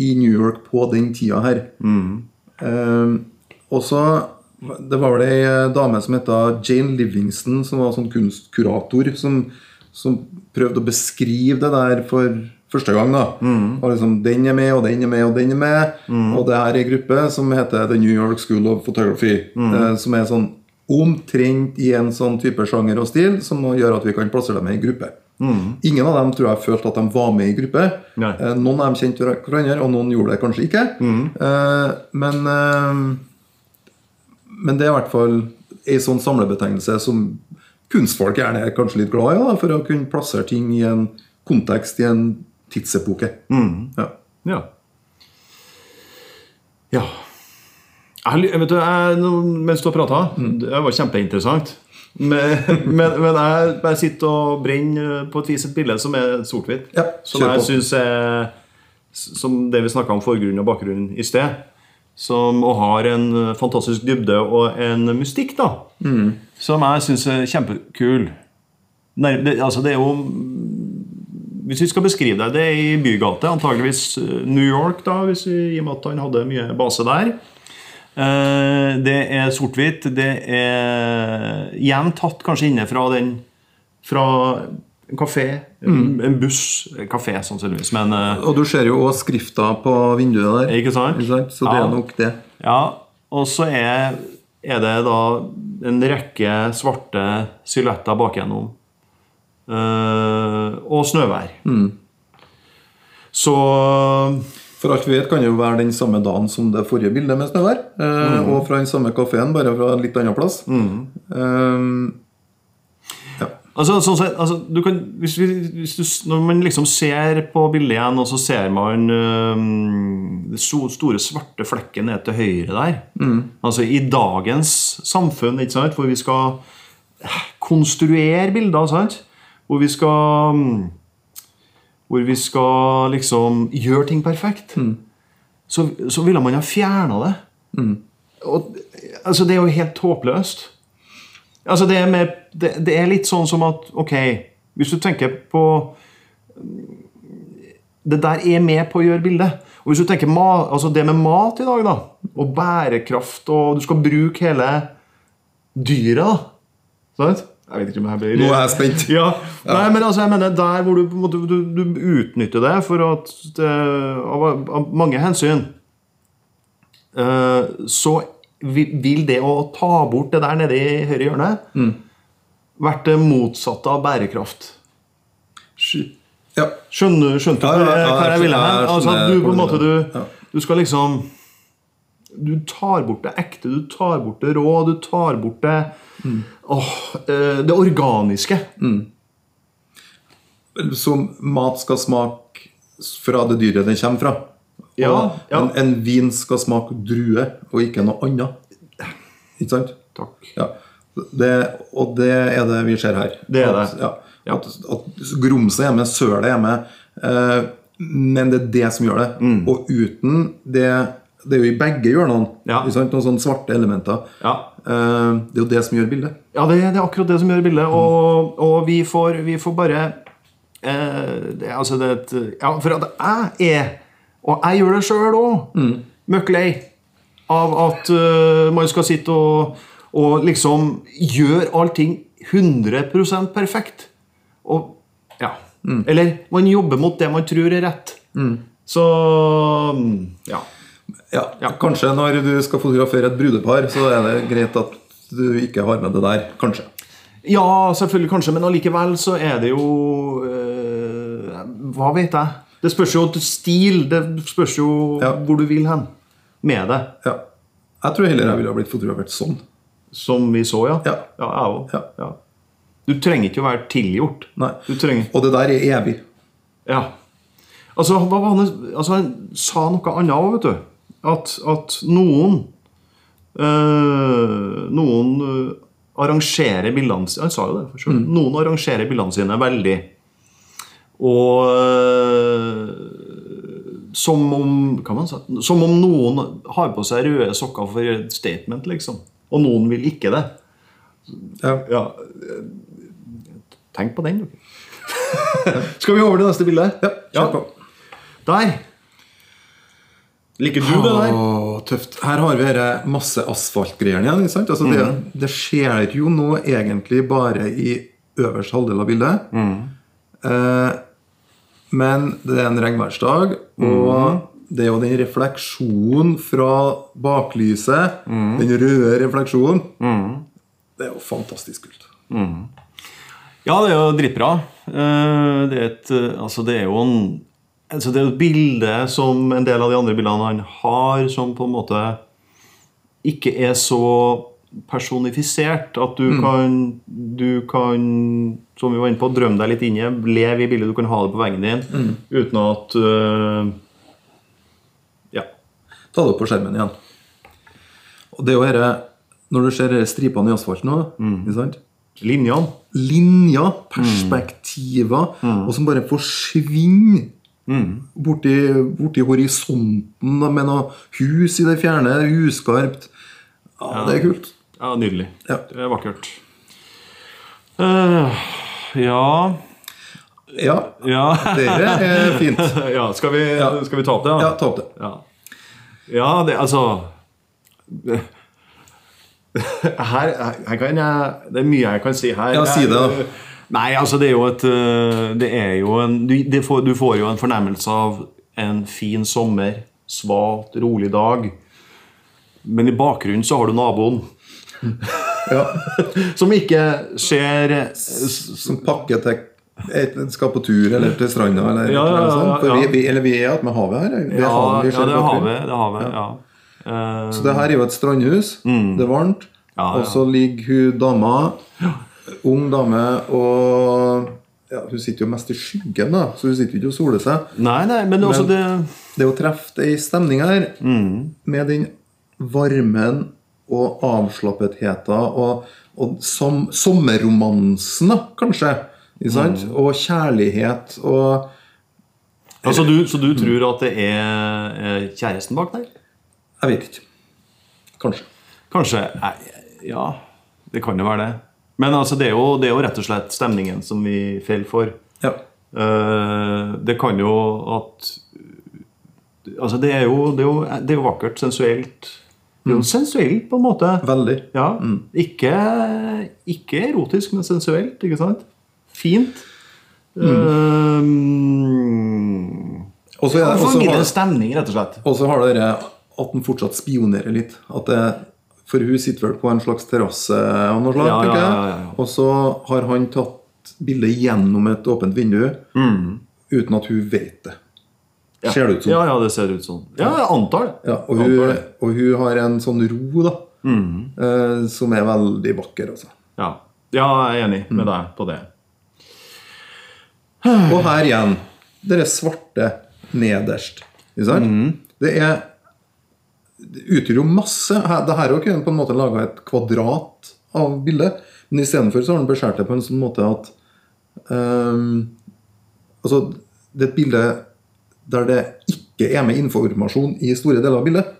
[SPEAKER 3] i New York på den tida her. Eh, og så Det var vel ei eh, dame som heter Jane Livingston, som var sånn kunstkurator, som, som prøvde å beskrive det der for første gang. da. Og liksom, Den er med, og den er med, og den er med. Og det her er ei gruppe som heter The New York School of Photography. eh, som er sånn omtrent i en sånn type sjanger og stil som nå gjør at vi kan plassere dem i gruppe. Ingen av dem tror jeg følte at de var med i gruppe.
[SPEAKER 2] Nei.
[SPEAKER 3] Eh, Noen av dem kjente hver- hverandre, og noen gjorde det kanskje ikke. Eh, Men, eh, men det er i hvert fall ei sånn samlebetegnelse som kunstfolk gjerne er kanskje litt glad i, da, for å kunne plassere ting i en kontekst, i en tidsepoke. Ja.
[SPEAKER 2] Ja. ja. Jeg, har ly- vet du, jeg, nå- mens du har prata
[SPEAKER 3] Mm.
[SPEAKER 2] Det var kjempeinteressant. Men, (laughs) men, men jeg bare sitter og brenner eh, på et vis et bilde som er sort-hvitt.
[SPEAKER 3] Ja,
[SPEAKER 2] som
[SPEAKER 3] kjør på.
[SPEAKER 2] jeg syns er Som det vi snakka om forgrunn og bakgrunn i sted. Som, og har en eh, fantastisk dybde og en mystikk, da.
[SPEAKER 3] Mm.
[SPEAKER 2] Som jeg syns er kjempekul. Nei, det, altså, det er jo hvis vi skal beskrive deg, det er i bygate, antageligvis eh, New York, da, hvis vi, i og med at han hadde mye base der. Eh, Det er sort-hvitt. Det er igjen tatt kanskje inne fra den Fra en kafé, en- en buss en Kafé, sannsynligvis, men eh,
[SPEAKER 3] Og du ser jo også skrifta på vinduet der,
[SPEAKER 2] Ikke sant?
[SPEAKER 3] ikke sant? så det
[SPEAKER 2] Ja.
[SPEAKER 3] er nok det.
[SPEAKER 2] Ja, og så er, er det da en rekke svarte silhuetter bakgjennom. Eh, og snøvær. Så
[SPEAKER 3] For alt vi vet kan det jo være den samme dagen som det forrige bildet med Mm. snøvær. Eh, Og fra den samme kafeen, bare fra en litt annen plass. Eh,
[SPEAKER 2] Altså, sånn sett, altså, du kan, hvis, vi, hvis du, s- når man liksom ser på bildet igjen, og så ser man øhm, den so- store svarte flekken ned til høyre der Altså I dagens samfunn, ikke sant, hvor vi skal eh, konstruere bilder, sant? hvor vi skal mm, Hvor vi skal liksom gjøre ting perfekt, så, så ville man ha fjerna det. Og, altså, det er jo helt håpløst. Altså det, er mer, det, det er litt sånn som at Ok, hvis du tenker på Det der er med på å gjøre bildet. Og hvis du tenker ma, altså det med mat i dag, da, og bærekraft, og du skal bruke hele dyret da. Sant? Jeg vet ikke om jeg blir
[SPEAKER 3] Nå er jeg spent.
[SPEAKER 2] (laughs) ja. Nei, men altså, jeg mener der hvor du, på en måte- du, du utnytter det for at det, av, av mange hensyn eh, Så vil, vil det å ta bort det der nede i høyre hjørne
[SPEAKER 3] Mm.
[SPEAKER 2] vært det motsatte av bærekraft. Skj-
[SPEAKER 3] Ja.
[SPEAKER 2] Skjønner, skjønte
[SPEAKER 3] Ja,
[SPEAKER 2] du eh,
[SPEAKER 3] ja, ja,
[SPEAKER 2] hva jeg
[SPEAKER 3] jeg
[SPEAKER 2] ville
[SPEAKER 3] skjønner-
[SPEAKER 2] hen?
[SPEAKER 3] jeg
[SPEAKER 2] Altså,
[SPEAKER 3] skjønner
[SPEAKER 2] at du, på en
[SPEAKER 3] hvor
[SPEAKER 2] måte,
[SPEAKER 3] du vil. Ja.
[SPEAKER 2] du, du skal liksom Du tar bort det ekte, du tar bort det rå, du tar bort det
[SPEAKER 3] Mm.
[SPEAKER 2] åh, eh, Det organiske.
[SPEAKER 3] Så mat skal smake fra det dyret den kommer fra. Og
[SPEAKER 2] Ja, ja.
[SPEAKER 3] En, en vin skal smake drue, og ikke noe annet. Ikke sant?
[SPEAKER 2] Takk.
[SPEAKER 3] Ja. Det, og det er det vi ser her.
[SPEAKER 2] Det er
[SPEAKER 3] At-
[SPEAKER 2] det.
[SPEAKER 3] Ja,
[SPEAKER 2] Ja.
[SPEAKER 3] At, at grumset er med, sølet er med. Eh, men det er det som gjør det.
[SPEAKER 2] Mm.
[SPEAKER 3] Og uten det Det er jo i begge hjørnene
[SPEAKER 2] Ja.
[SPEAKER 3] ikke sant? noen sånne svarte elementer.
[SPEAKER 2] Ja.
[SPEAKER 3] Eh, det er jo det som gjør bildet.
[SPEAKER 2] Ja, det, det er akkurat det som gjør bildet. Og, og vi, får, vi får bare eh, det, er Altså, det er et Ja, for at jeg er, og jeg gjør det sjøl òg, møkklei av at eh, man skal sitte og, og liksom gjøre allting 100 perfekt. Og Ja. Eller man jobber mot det man tror er rett. Så mm, Ja.
[SPEAKER 3] Ja, Kanskje når du skal fotografere et brudepar, så er det greit at du ikke har med det der. Kanskje.
[SPEAKER 2] Ja, selvfølgelig kanskje, men allikevel så er det jo eh, Hva vet jeg? Det spørs jo til stil. Det spørs jo
[SPEAKER 3] Ja.
[SPEAKER 2] hvor du vil hen med det.
[SPEAKER 3] Ja. Jeg tror heller jeg ville ha blitt fotografert sånn.
[SPEAKER 2] Som vi så, ja.
[SPEAKER 3] Ja.
[SPEAKER 2] jeg òg.
[SPEAKER 3] Ja.
[SPEAKER 2] Ja. Du trenger ikke å være tilgjort.
[SPEAKER 3] Nei.
[SPEAKER 2] Du trenger
[SPEAKER 3] Og det der er evig.
[SPEAKER 2] Ja. Altså, hva var han, altså, han sa noe annet òg, vet du. At, at noen eh, Noen eh, arrangerer bildene sine Han sa jo det. for selv. Noen arrangerer bildene sine veldig. Og eh, som om hva man sa, Som om noen har på seg røde sokker for et statement, liksom. Og noen vil ikke det.
[SPEAKER 3] Ja.
[SPEAKER 2] Ja, eh, tenk på den, du. Skal vi over til neste bilde?
[SPEAKER 3] Ja, kjør på.
[SPEAKER 2] Der. Liker du det der?
[SPEAKER 3] Åh, tøft. Her har vi dette masse asfaltgreiene igjen. ikke sant? Altså, det, det skjer jo nå egentlig bare i øverste halvdel av bildet. Eh, men det er en regnværsdag, og det er jo den refleksjonen fra baklyset, den røde refleksjonen Det er jo fantastisk kult.
[SPEAKER 2] Ja, det er jo dritbra. Eh, Det er, et, eh, altså det er jo en, altså det er jo et bilde som en del av de andre bildene han har, som på en måte ikke er så personifisert at du kan Du kan, som vi var inne på, drømme deg litt inn i, leve i bildet, du kan ha det på veggen din uten at eh, Ja.
[SPEAKER 3] Ta det opp på skjermen igjen. Og det er jo dette Når du ser disse stripene i asfalten nå, ikke sant?
[SPEAKER 2] Linjene.
[SPEAKER 3] linjer,
[SPEAKER 2] Mm.
[SPEAKER 3] perspektiver, og som bare forsvinner
[SPEAKER 2] Mm.
[SPEAKER 3] borti, borti horisonten da, med noe hus i det fjerne, uskarpt. Ja, det er kult.
[SPEAKER 2] Ja, nydelig.
[SPEAKER 3] Ja.
[SPEAKER 2] Det er vakkert. Eh, ja
[SPEAKER 3] Ja,
[SPEAKER 2] ja. (laughs)
[SPEAKER 3] dere er fint.
[SPEAKER 2] ja, skal vi,
[SPEAKER 3] Ja.
[SPEAKER 2] skal vi ta opp det? da?
[SPEAKER 3] Ja, ta opp det.
[SPEAKER 2] Ja, ja det, altså det- her, her kan jeg Det er mye jeg kan si her.
[SPEAKER 3] Ja, si det, da.
[SPEAKER 2] Nei, altså, det er jo et øh, Det er jo en du, det får, du får jo en fornemmelse av en fin sommer, svalt, rolig dag. Men i bakgrunnen så har du naboen,
[SPEAKER 3] Ja.
[SPEAKER 2] som ikke ser eh, s-
[SPEAKER 3] Som pakke til et- skal på tur eller til stranda eller
[SPEAKER 2] Ja, ja, ja,
[SPEAKER 3] noe sånt. For
[SPEAKER 2] ja.
[SPEAKER 3] vi, vi, eller vi er attmed havet her. Vi er
[SPEAKER 2] Ja,
[SPEAKER 3] havet, vi
[SPEAKER 2] ja,
[SPEAKER 3] ser
[SPEAKER 2] det
[SPEAKER 3] på
[SPEAKER 2] har
[SPEAKER 3] tur.
[SPEAKER 2] vi. Det har vi ja. Eh,
[SPEAKER 3] Så det her er jo et strandhus. Det er varmt.
[SPEAKER 2] Mm. Ja, ja.
[SPEAKER 3] Og så ligger hun dama ung dame, og ja, hun sitter jo mest i skyggen, da, så hun sitter jo ikke og soler seg.
[SPEAKER 2] Nei, nei, men det er også det
[SPEAKER 3] Det å treffe ei stemning her,
[SPEAKER 2] Mm.
[SPEAKER 3] med den varmen og avslappetheten og, og som, sommerromansen, da, kanskje, ikke sant?
[SPEAKER 2] Mm.
[SPEAKER 3] og kjærlighet og
[SPEAKER 2] altså, du, Så du tror at det er eh, kjæresten bak der?
[SPEAKER 3] Jeg vet ikke. Kanskje.
[SPEAKER 2] Kanskje nei, Ja, det kan jo være det. Men altså, det er jo, det er jo rett og slett stemningen som vi faller for.
[SPEAKER 3] Ja.
[SPEAKER 2] Eh, det kan jo at Altså, det er jo, det er jo, det er jo vakkert, sensuelt. Det er jo sensuelt, på en måte.
[SPEAKER 3] Veldig.
[SPEAKER 2] Ja. Ikke, ikke erotisk, men sensuelt, ikke sant? Fint. Eh, Mm.
[SPEAKER 3] Og så er det- og så har
[SPEAKER 2] Fungerende
[SPEAKER 3] det-
[SPEAKER 2] stemning, rett og slett.
[SPEAKER 3] Og så har det det at den fortsatt spionerer litt. At det, for hun sitter vel på en slags terrasse av noe slag,
[SPEAKER 2] Ja, ja,
[SPEAKER 3] tenker jeg.
[SPEAKER 2] ja, ja, ja.
[SPEAKER 3] Og så har han tatt bildet gjennom et åpent vindu uten at hun vet det. Ser det ut som.
[SPEAKER 2] Mm. Ja, ja, det ser ut sånn. Ja, jeg antar det.
[SPEAKER 3] Ja, og,
[SPEAKER 2] Antar
[SPEAKER 3] hun,
[SPEAKER 2] det. Mm.
[SPEAKER 3] og hun har en sånn ro, da, eh, som er veldig vakker, altså.
[SPEAKER 2] Ja. ja, jeg er enig
[SPEAKER 3] Mm.
[SPEAKER 2] med deg på det.
[SPEAKER 3] Og her igjen. Det er svarte nederst. Ikke sant? Det er det utgjør jo masse. Her- Det her er jo ikke på en måte laga et kvadrat av bildet. Men istedenfor så har han beskåret det på en sånn måte at ehm, Altså, det er et bilde der det ikke er med informasjon i store deler av bildet.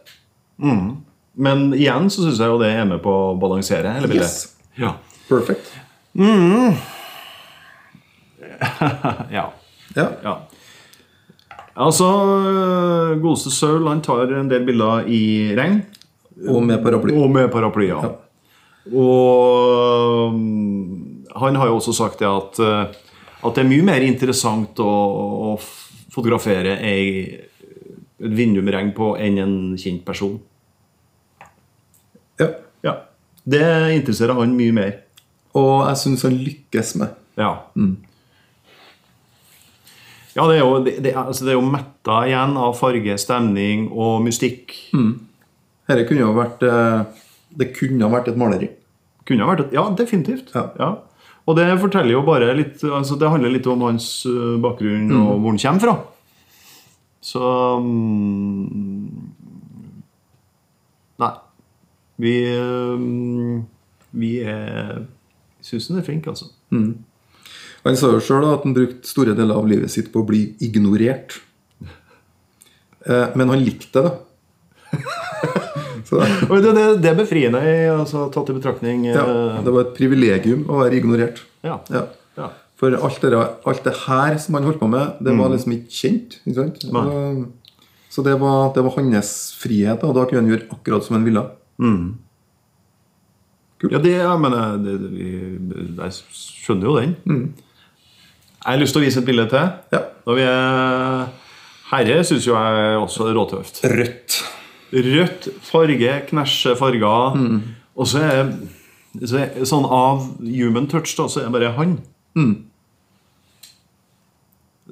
[SPEAKER 2] Men igjen så syns jeg jo det er med på å balansere hele bildet.
[SPEAKER 3] Yes.
[SPEAKER 2] Ja.
[SPEAKER 3] Perfect.
[SPEAKER 2] ja.
[SPEAKER 3] Ja.
[SPEAKER 2] ja. Altså, godeste Saul han tar en del bilder i regn.
[SPEAKER 3] Og med paraply.
[SPEAKER 2] Og med paraply, ja. Og mm, han har jo også sagt det at, eh, at det er mye mer interessant å, å f- fotografere ei, et vindu med regn på enn en kjent person.
[SPEAKER 3] Ja.
[SPEAKER 2] Ja. Det interesserer han mye mer.
[SPEAKER 3] Og jeg syns han lykkes med.
[SPEAKER 2] Ja. Ja, det er, jo, det, det, er- altså det er jo metta igjen av farge, stemning og mystikk.
[SPEAKER 3] Dette kunne jo vært eh, Det kunne ha vært et maleri.
[SPEAKER 2] Kunne ha vært et, Ja, definitivt.
[SPEAKER 3] Ja.
[SPEAKER 2] Og det forteller jo bare litt altså Det handler litt om hans øh, bakgrunn og hvor han kommer fra. Så mm, Nei. Vi øhm, Vi er Syns han er flink, altså.
[SPEAKER 3] Han sa jo sjøl at han brukte store deler av livet sitt på å bli ignorert. Eh, Men han likte det. (laughs) Så
[SPEAKER 2] Og det, det, det er befriende, altså, tatt i betraktning
[SPEAKER 3] ja,
[SPEAKER 2] øh,
[SPEAKER 3] det var et privilegium å være ignorert.
[SPEAKER 2] Ja.
[SPEAKER 3] Ja.
[SPEAKER 2] Ja.
[SPEAKER 3] For alt det, der- alt det her som han holdt på med, det var liksom ikke kjent. Ikke sant?
[SPEAKER 2] Mm. Nei.
[SPEAKER 3] Så det var, det var hans frihet, og da kunne han gjøre akkurat som han ville.
[SPEAKER 2] ja, det jeg mener det, det, vi, Jeg skjønner jo den. Mm. Jeg har lyst til å vise et bilde til.
[SPEAKER 3] Ja.
[SPEAKER 2] Når vi er herre, syns jo jeg også er råtøft.
[SPEAKER 3] Rødt.
[SPEAKER 2] Rødt farge, knæsje farger. Og så er så er- sånn av human touch, da, så er det bare han.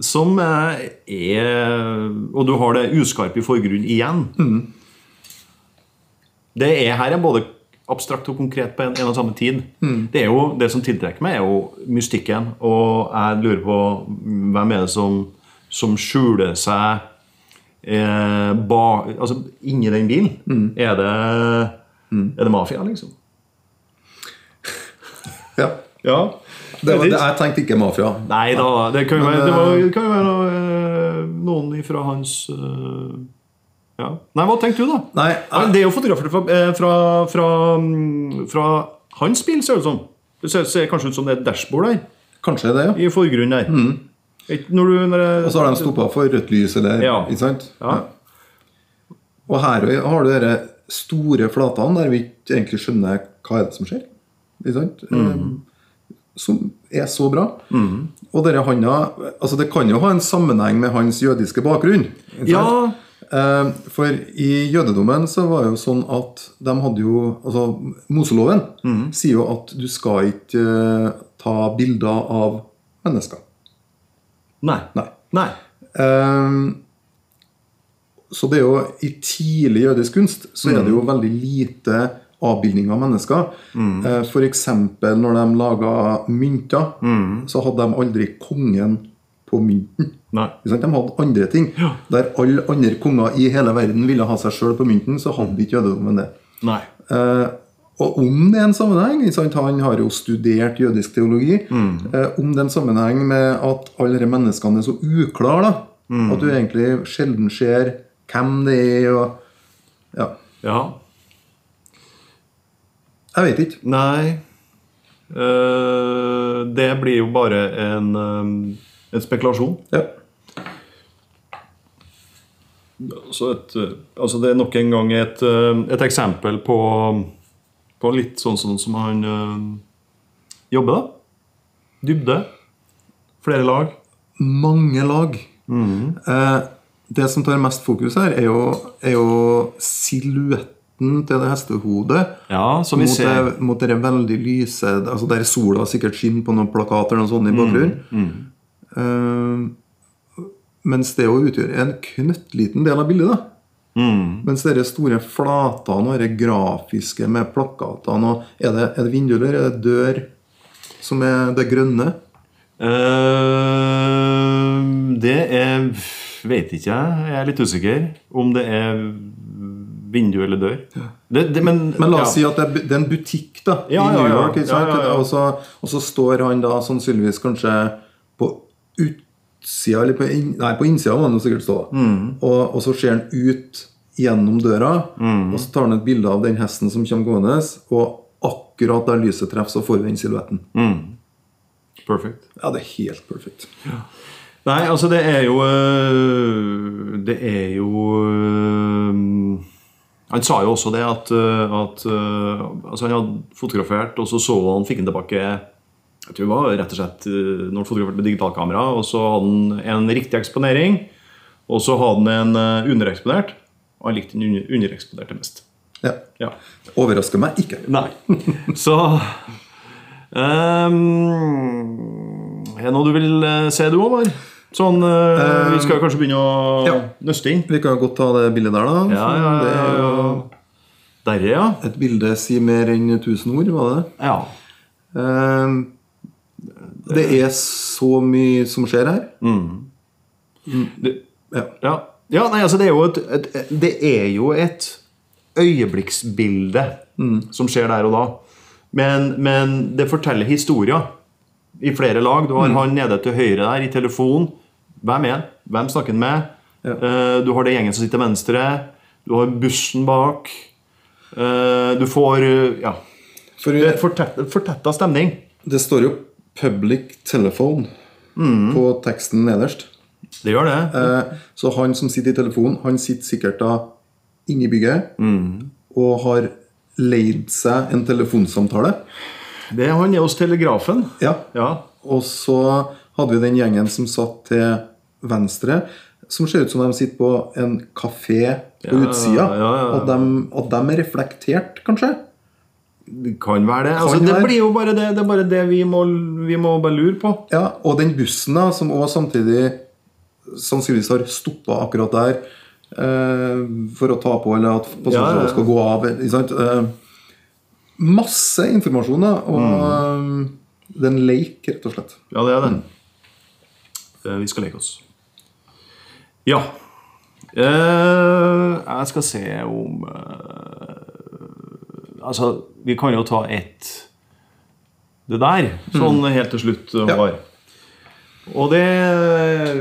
[SPEAKER 2] Som eh, er Og du har det uskarpe i forgrunnen igjen. Det er her er både abstrakt og konkret på en, en og samme tid. Det, er jo, det som tiltrekker meg, er jo mystikken. Og jeg lurer på hvem er det som, som skjuler seg eh, ba, altså, inni den bilen. Er, det, er det mafia, liksom?
[SPEAKER 3] Ja.
[SPEAKER 2] Ja.
[SPEAKER 3] Det var, det, jeg tenkte ikke mafia.
[SPEAKER 2] Nei da, det kan jo være, det var, det kan jo være noe, eh, noen ifra hans eh, ja. Nei, hva tenkte du, da?
[SPEAKER 3] Nei,
[SPEAKER 2] Ja,
[SPEAKER 3] jeg,
[SPEAKER 2] det er jo fotografert fra, eh, fra, fra, mm, fra hans bil, ser det ut som. Det ser, ser kanskje ut som det er et dashbord der.
[SPEAKER 3] kanskje det, ja.
[SPEAKER 2] I forgrunnen der. Ikke Når du, når jeg,
[SPEAKER 3] Mm. Og så har de stoppa for rødt lys, eller
[SPEAKER 2] Ja.
[SPEAKER 3] Ikke sant?
[SPEAKER 2] ja.
[SPEAKER 3] Og her har du dere store flatene der vi ikke egentlig skjønner hva er det som skjer. Ikke sant? Eh, Som er så bra. Og dere handa altså Det kan jo ha en sammenheng med hans jødiske bakgrunn. ikke sant?
[SPEAKER 2] Ja.
[SPEAKER 3] Eh, For i jødedommen så var det jo sånn at de hadde jo Altså Moseloven sier jo at du skal ikke eh, ta bilder av mennesker.
[SPEAKER 2] Nei.
[SPEAKER 3] Nei.
[SPEAKER 2] Nei.
[SPEAKER 3] Ehm, så det er jo I tidlig jødisk kunst så er det jo veldig lite avbildninger av mennesker. Eh, For eksempel når de laga mynter, så hadde de aldri kongen på mynten.
[SPEAKER 2] Nei.
[SPEAKER 3] Ikke sant? De hadde andre ting. Der alle andre konger i hele verden ville ha seg sjøl på mynten, så hadde ikke jødedommen det.
[SPEAKER 2] Nei.
[SPEAKER 3] Eh, og om det er en sammenheng ikke sant? Han har jo studert jødisk teologi. Eh, om det er en sammenheng med at alle disse menneskene er så uklare, da. At du egentlig sjelden ser hvem det er. Og, ja.
[SPEAKER 2] Ja.
[SPEAKER 3] Jeg vet ikke.
[SPEAKER 2] Nei. Eh, det blir jo bare en, eh, en spekulasjon.
[SPEAKER 3] Ja.
[SPEAKER 2] Så et, eh, altså det er nok en gang et, eh, et eksempel på, på litt sånn, sånn som han eh, jobber, da. Dybde. Flere lag.
[SPEAKER 3] Mange lag. Eh, det som tar mest fokus her, er jo, er jo silhuetten til det hestehodet.
[SPEAKER 2] Ja, som vi
[SPEAKER 3] mot
[SPEAKER 2] ser.
[SPEAKER 3] Det, mot det veldig lyse altså Der sola sikkert skinner på noen plakater og
[SPEAKER 2] Mm,
[SPEAKER 3] sånn i bakgrunnen. Eh, mens det jo utgjør en knøttliten del av bildet. da
[SPEAKER 2] Mm.
[SPEAKER 3] Mens de store flatene og det grafiske med plakatene og er det, er det vindu eller er det dør som er det grønne?
[SPEAKER 2] Eh, det er Vet ikke jeg. Jeg er litt usikker om det er vindu eller dør. Det, det, men,
[SPEAKER 3] Men la oss
[SPEAKER 2] ja.
[SPEAKER 3] si at det er bu- det er en butikk da
[SPEAKER 2] Ja, ja,
[SPEAKER 3] i New
[SPEAKER 2] ja.
[SPEAKER 3] York.
[SPEAKER 2] Ja,
[SPEAKER 3] Ikke sant?
[SPEAKER 2] ja, ja.
[SPEAKER 3] Og, så, og så står han da sannsynligvis kanskje på utsida eller på, inn, Nei, på innsida må han jo sikkert stå.
[SPEAKER 2] Mm.
[SPEAKER 3] Og, og så ser han ut gjennom døra,
[SPEAKER 2] Mm.
[SPEAKER 3] og så tar han et bilde av den hesten som kommer gående. Og akkurat der lyset treffer, så får vi den silhuetten.
[SPEAKER 2] Perfect.
[SPEAKER 3] Ja, det er helt perfekt.
[SPEAKER 2] Nei, altså det er jo øh, Det er jo øh, Han sa jo også det at, øh, at øh, altså han hadde fotografert, og så så han, fikk han tilbake jeg tror det var rett og slett øh, når han fotograferte med digitalkamera. Og så hadde han en riktig eksponering, og så hadde han en øh, undereksponert. Og han likte den under- undereksponerte mest.
[SPEAKER 3] Ja.
[SPEAKER 2] Ja.
[SPEAKER 3] Overrasker meg ikke.
[SPEAKER 2] Nei. Så ehm, Er det noe du vil eh, se, du òg, Var? Sånn, eh, vi skal kanskje begynne å
[SPEAKER 3] ja.
[SPEAKER 2] nøste inn?
[SPEAKER 3] Vi kan jo godt ta det bildet der, da.
[SPEAKER 2] Ja, ja,
[SPEAKER 3] Det
[SPEAKER 2] ja,
[SPEAKER 3] er jo
[SPEAKER 2] ja. Der, ja.
[SPEAKER 3] et bilde sier mer enn tusen ord, var det?
[SPEAKER 2] ja.
[SPEAKER 3] Eh, Det er så mye som skjer her.
[SPEAKER 2] Det,
[SPEAKER 3] Ja.
[SPEAKER 2] ja. ja, nei, altså det er jo et, et Det er jo et øyeblikksbilde mm, som skjer der og da. Men, men det forteller historier i flere lag. Du har han nede til høyre der i telefon. Hvem er han? Hvem snakker han med?
[SPEAKER 3] Ja.
[SPEAKER 2] Eh, Du har det gjengen som sitter til venstre. Du har bussen bak. Eh, Du får eh, Ja.
[SPEAKER 3] For
[SPEAKER 2] Det er fortet- fortetta stemning.
[SPEAKER 3] det står jo 'public telephone' på teksten nederst.
[SPEAKER 2] Det gjør det.
[SPEAKER 3] Eh, Så han som sitter i telefonen, han sitter sikkert da inne i bygget og har leid seg en telefonsamtale.
[SPEAKER 2] det han er hos telegrafen.
[SPEAKER 3] Ja.
[SPEAKER 2] Ja.
[SPEAKER 3] Og så hadde vi den gjengen som satt til venstre, som ser ut som de sitter på en kafé på
[SPEAKER 2] Ja,
[SPEAKER 3] utsida.
[SPEAKER 2] ja, ja, ja.
[SPEAKER 3] At, de, at de er reflektert, kanskje.
[SPEAKER 2] Det kan være det. Altså,
[SPEAKER 3] Kan
[SPEAKER 2] det
[SPEAKER 3] være.
[SPEAKER 2] blir jo bare det, det, er bare det vi, må, vi må bare lure på.
[SPEAKER 3] Ja, og den bussen da, som også samtidig sannsynligvis har stoppa akkurat der eh, for å ta på, eller at
[SPEAKER 2] Ja, ja,
[SPEAKER 3] passasjerene
[SPEAKER 2] ja.
[SPEAKER 3] skal gå av. Ikke sant? Eh, masse informasjon, da. Og eh, det er en leik, rett og slett.
[SPEAKER 2] Ja, det er det. Eh, Vi skal leke oss. Ja. Eh, jeg skal se om eh, Altså, vi kan jo ta ett det der, sånn helt til slutt. eh,
[SPEAKER 3] Ja.
[SPEAKER 2] Håvard. Og det eh,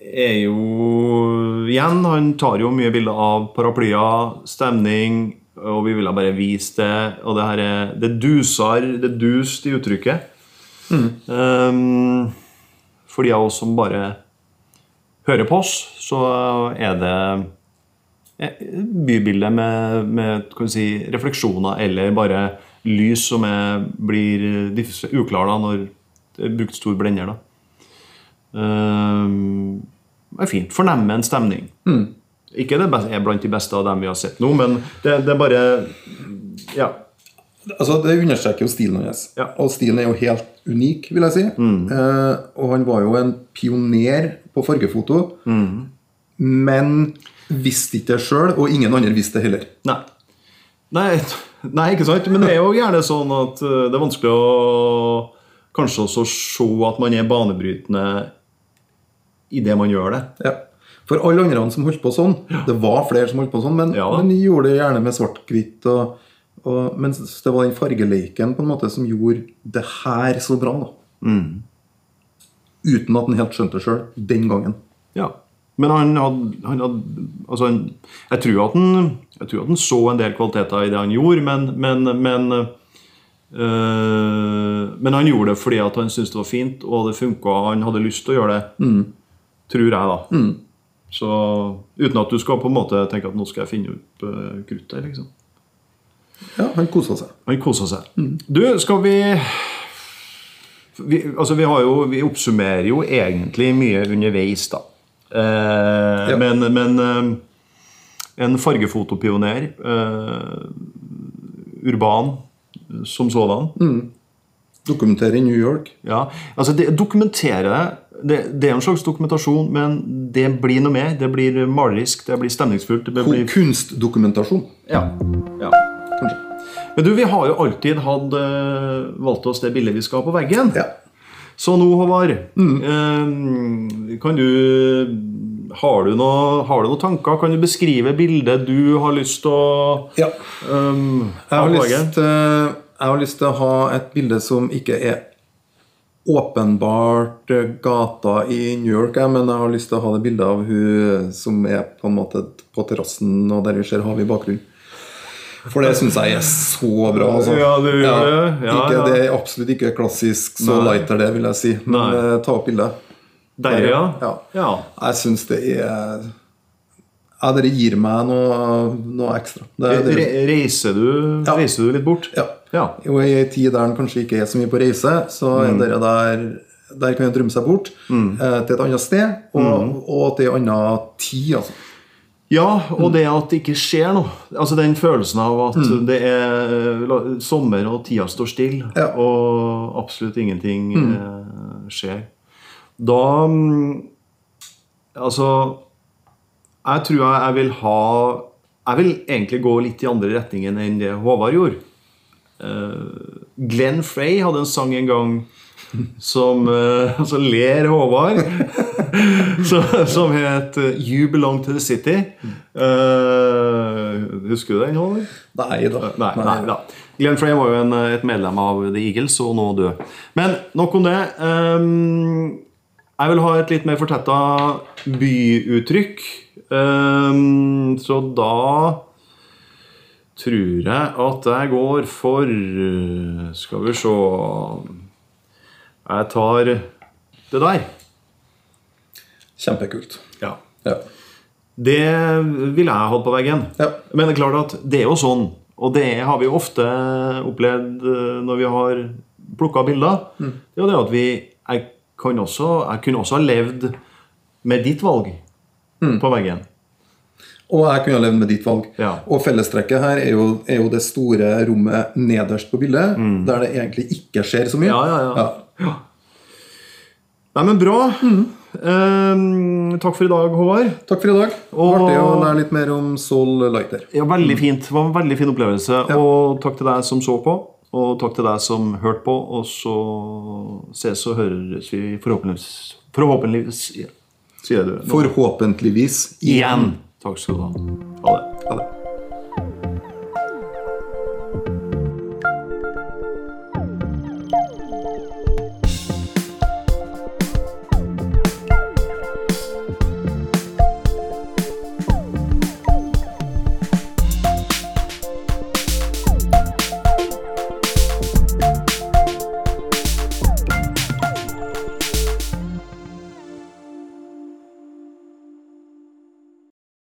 [SPEAKER 2] er jo Igjen, han tar jo mye bilder av paraplyer, stemning, og vi ville bare vise det. Og det her er Det duser, det er dust i uttrykket. Ehm, for de av oss som bare hører på oss, så er det eh, bybildet med, med kan vi si, refleksjoner eller bare lys som er, blir diffus- uklar da, når det er brukt stor blender. Da. Ehm, det er fint. Fornemme en stemning. Ikke det beste, er blant de beste av dem vi har sett nå, men det, det er bare Ja.
[SPEAKER 3] Altså, Det understreker jo stilen hans.
[SPEAKER 2] Ja.
[SPEAKER 3] Og stilen er jo helt unik, vil jeg si. Eh, og han var jo en pioner på fargefoto. Mm. Men visste ikke det sjøl, og ingen andre visste det heller.
[SPEAKER 2] Nei. Nei, (laughs) nei, ikke sant? Men det er jo gjerne sånn at eh, det er vanskelig å kanskje også se at man er banebrytende i det man gjør det.
[SPEAKER 3] Ja. For alle andre som holdt på sånn, det var flere som holdt på sånn, men,
[SPEAKER 2] Ja.
[SPEAKER 3] men de gjorde det gjerne med svart-hvitt. Og, og, mens det var den fargeleiken på en måte som gjorde det her så bra. da. Mm. Uten at han helt skjønte det sjøl den gangen.
[SPEAKER 2] Ja. Men han hadde, han hadde altså han, jeg, tror at han, jeg tror at han så en del kvaliteter i det han gjorde, men Men, men, øh, men han gjorde det fordi at han syntes det var fint, og det funka. Han hadde lyst til å gjøre det, tror jeg, da. Så Uten at du skal på en måte tenke at nå skal jeg finne opp øh, kruttet. liksom.
[SPEAKER 3] Ja, Han kosa seg.
[SPEAKER 2] Han kosa seg. Du, skal vi vi, altså vi, har jo, vi oppsummerer jo egentlig mye underveis, da. Eh,
[SPEAKER 3] Ja.
[SPEAKER 2] Men, men eh, en fargefotopioner, eh, urban som sådan
[SPEAKER 3] Mm. Dokumentere i New York.
[SPEAKER 2] ja, altså det, Dokumentere det, det er en slags dokumentasjon, men det blir noe mer. Det blir malerisk, det blir stemningsfullt. Det
[SPEAKER 3] Ko-
[SPEAKER 2] blir
[SPEAKER 3] Kunstdokumentasjon,
[SPEAKER 2] ja. ja.
[SPEAKER 3] kanskje.
[SPEAKER 2] Men du, vi har jo alltid hatt eh, valgt oss det bildet vi skal ha på veggen.
[SPEAKER 3] Ja.
[SPEAKER 2] Så nå, Håvard,
[SPEAKER 3] Mm.
[SPEAKER 2] eh, kan du har du, noe, har du noen tanker? Kan du beskrive bildet du har lyst til å
[SPEAKER 3] ja.
[SPEAKER 2] um,
[SPEAKER 3] Jeg har, lyst, eh, jeg har lyst til å ha et bilde som ikke er åpenbart eh, gata i New York, jeg, men jeg har lyst til å ha det bildet av hun eh, som er på en måte på terrassen, og der vi ser havet i bakgrunnen. For det syns jeg er så bra. Altså.
[SPEAKER 2] Ja, du gjør det. Ja,
[SPEAKER 3] ikke,
[SPEAKER 2] ja.
[SPEAKER 3] Det er absolutt ikke klassisk så light er det, vil jeg si. Men
[SPEAKER 2] Nei.
[SPEAKER 3] eh, ta opp bildet.
[SPEAKER 2] Der, ja.
[SPEAKER 3] Ja.
[SPEAKER 2] ja.
[SPEAKER 3] Jeg syns det er Ja, dere gir meg noe, noe ekstra. Det, det,
[SPEAKER 2] Re reiser, du,
[SPEAKER 3] Ja.
[SPEAKER 2] reiser du litt bort?
[SPEAKER 3] ja.
[SPEAKER 2] Ja.
[SPEAKER 3] Jo, I ei tid der en kanskje ikke er så mye på reise, så er
[SPEAKER 2] Mm.
[SPEAKER 3] dere der, der kan en drømme seg bort eh, til et annet sted og,
[SPEAKER 2] Mm.
[SPEAKER 3] og til en annen tid. Altså.
[SPEAKER 2] Ja, og det at det ikke skjer noe. Altså Den følelsen av at det er eh, la- sommer og tida står stille,
[SPEAKER 3] Ja.
[SPEAKER 2] og absolutt ingenting eh, skjer. Da mm, Altså Jeg tror jeg, jeg vil ha Jeg vil egentlig gå litt i andre retningen enn det Håvard gjorde. Eh, Glenn Frey hadde en sang en gang som eh, altså ler Håvard. som, som het eh, You Belong to the City. Eh, husker du den, Håvard?
[SPEAKER 3] Nei da.
[SPEAKER 2] Nei, nei da. Glenn Frey var jo en, eh, et medlem av The Eagles og nå død. Men nok om det. Ehm, jeg vil ha et litt mer fortetta byuttrykk. Ehm, så da tror jeg at jeg går for eh, Skal vi se Jeg tar det der.
[SPEAKER 3] Kjempekult.
[SPEAKER 2] Ja.
[SPEAKER 3] Ja.
[SPEAKER 2] Det ville jeg hatt på veggen.
[SPEAKER 3] Ja.
[SPEAKER 2] Men det er klart at det er jo sånn, og det har vi jo ofte opplevd eh, når vi har plukka bilder, det er jo det at vi jeg, kan også, jeg kunne også ha levd med ditt valg på veggen.
[SPEAKER 3] Og jeg kunne ha levd med ditt valg.
[SPEAKER 2] Ja.
[SPEAKER 3] Og fellestrekket her er jo, er jo det store rommet nederst på bildet, der det egentlig ikke skjer så mye.
[SPEAKER 2] Mm. Ja, ja, ja. Nei, men bra. Eh, takk for i dag, Håvard.
[SPEAKER 3] Takk for i dag.
[SPEAKER 2] Og-
[SPEAKER 3] Artig å lære litt mer om Sol Lighter.
[SPEAKER 2] Ja, Veldig fint. Det var en veldig fin opplevelse. Og takk til deg som så på, og takk til deg som hørte på. Og så ses og høres vi forhåpentligvis Forhåpentligvis sier jeg det nå.
[SPEAKER 3] Forhåpentligvis
[SPEAKER 2] igjen. Takk skal du ha. Ha det.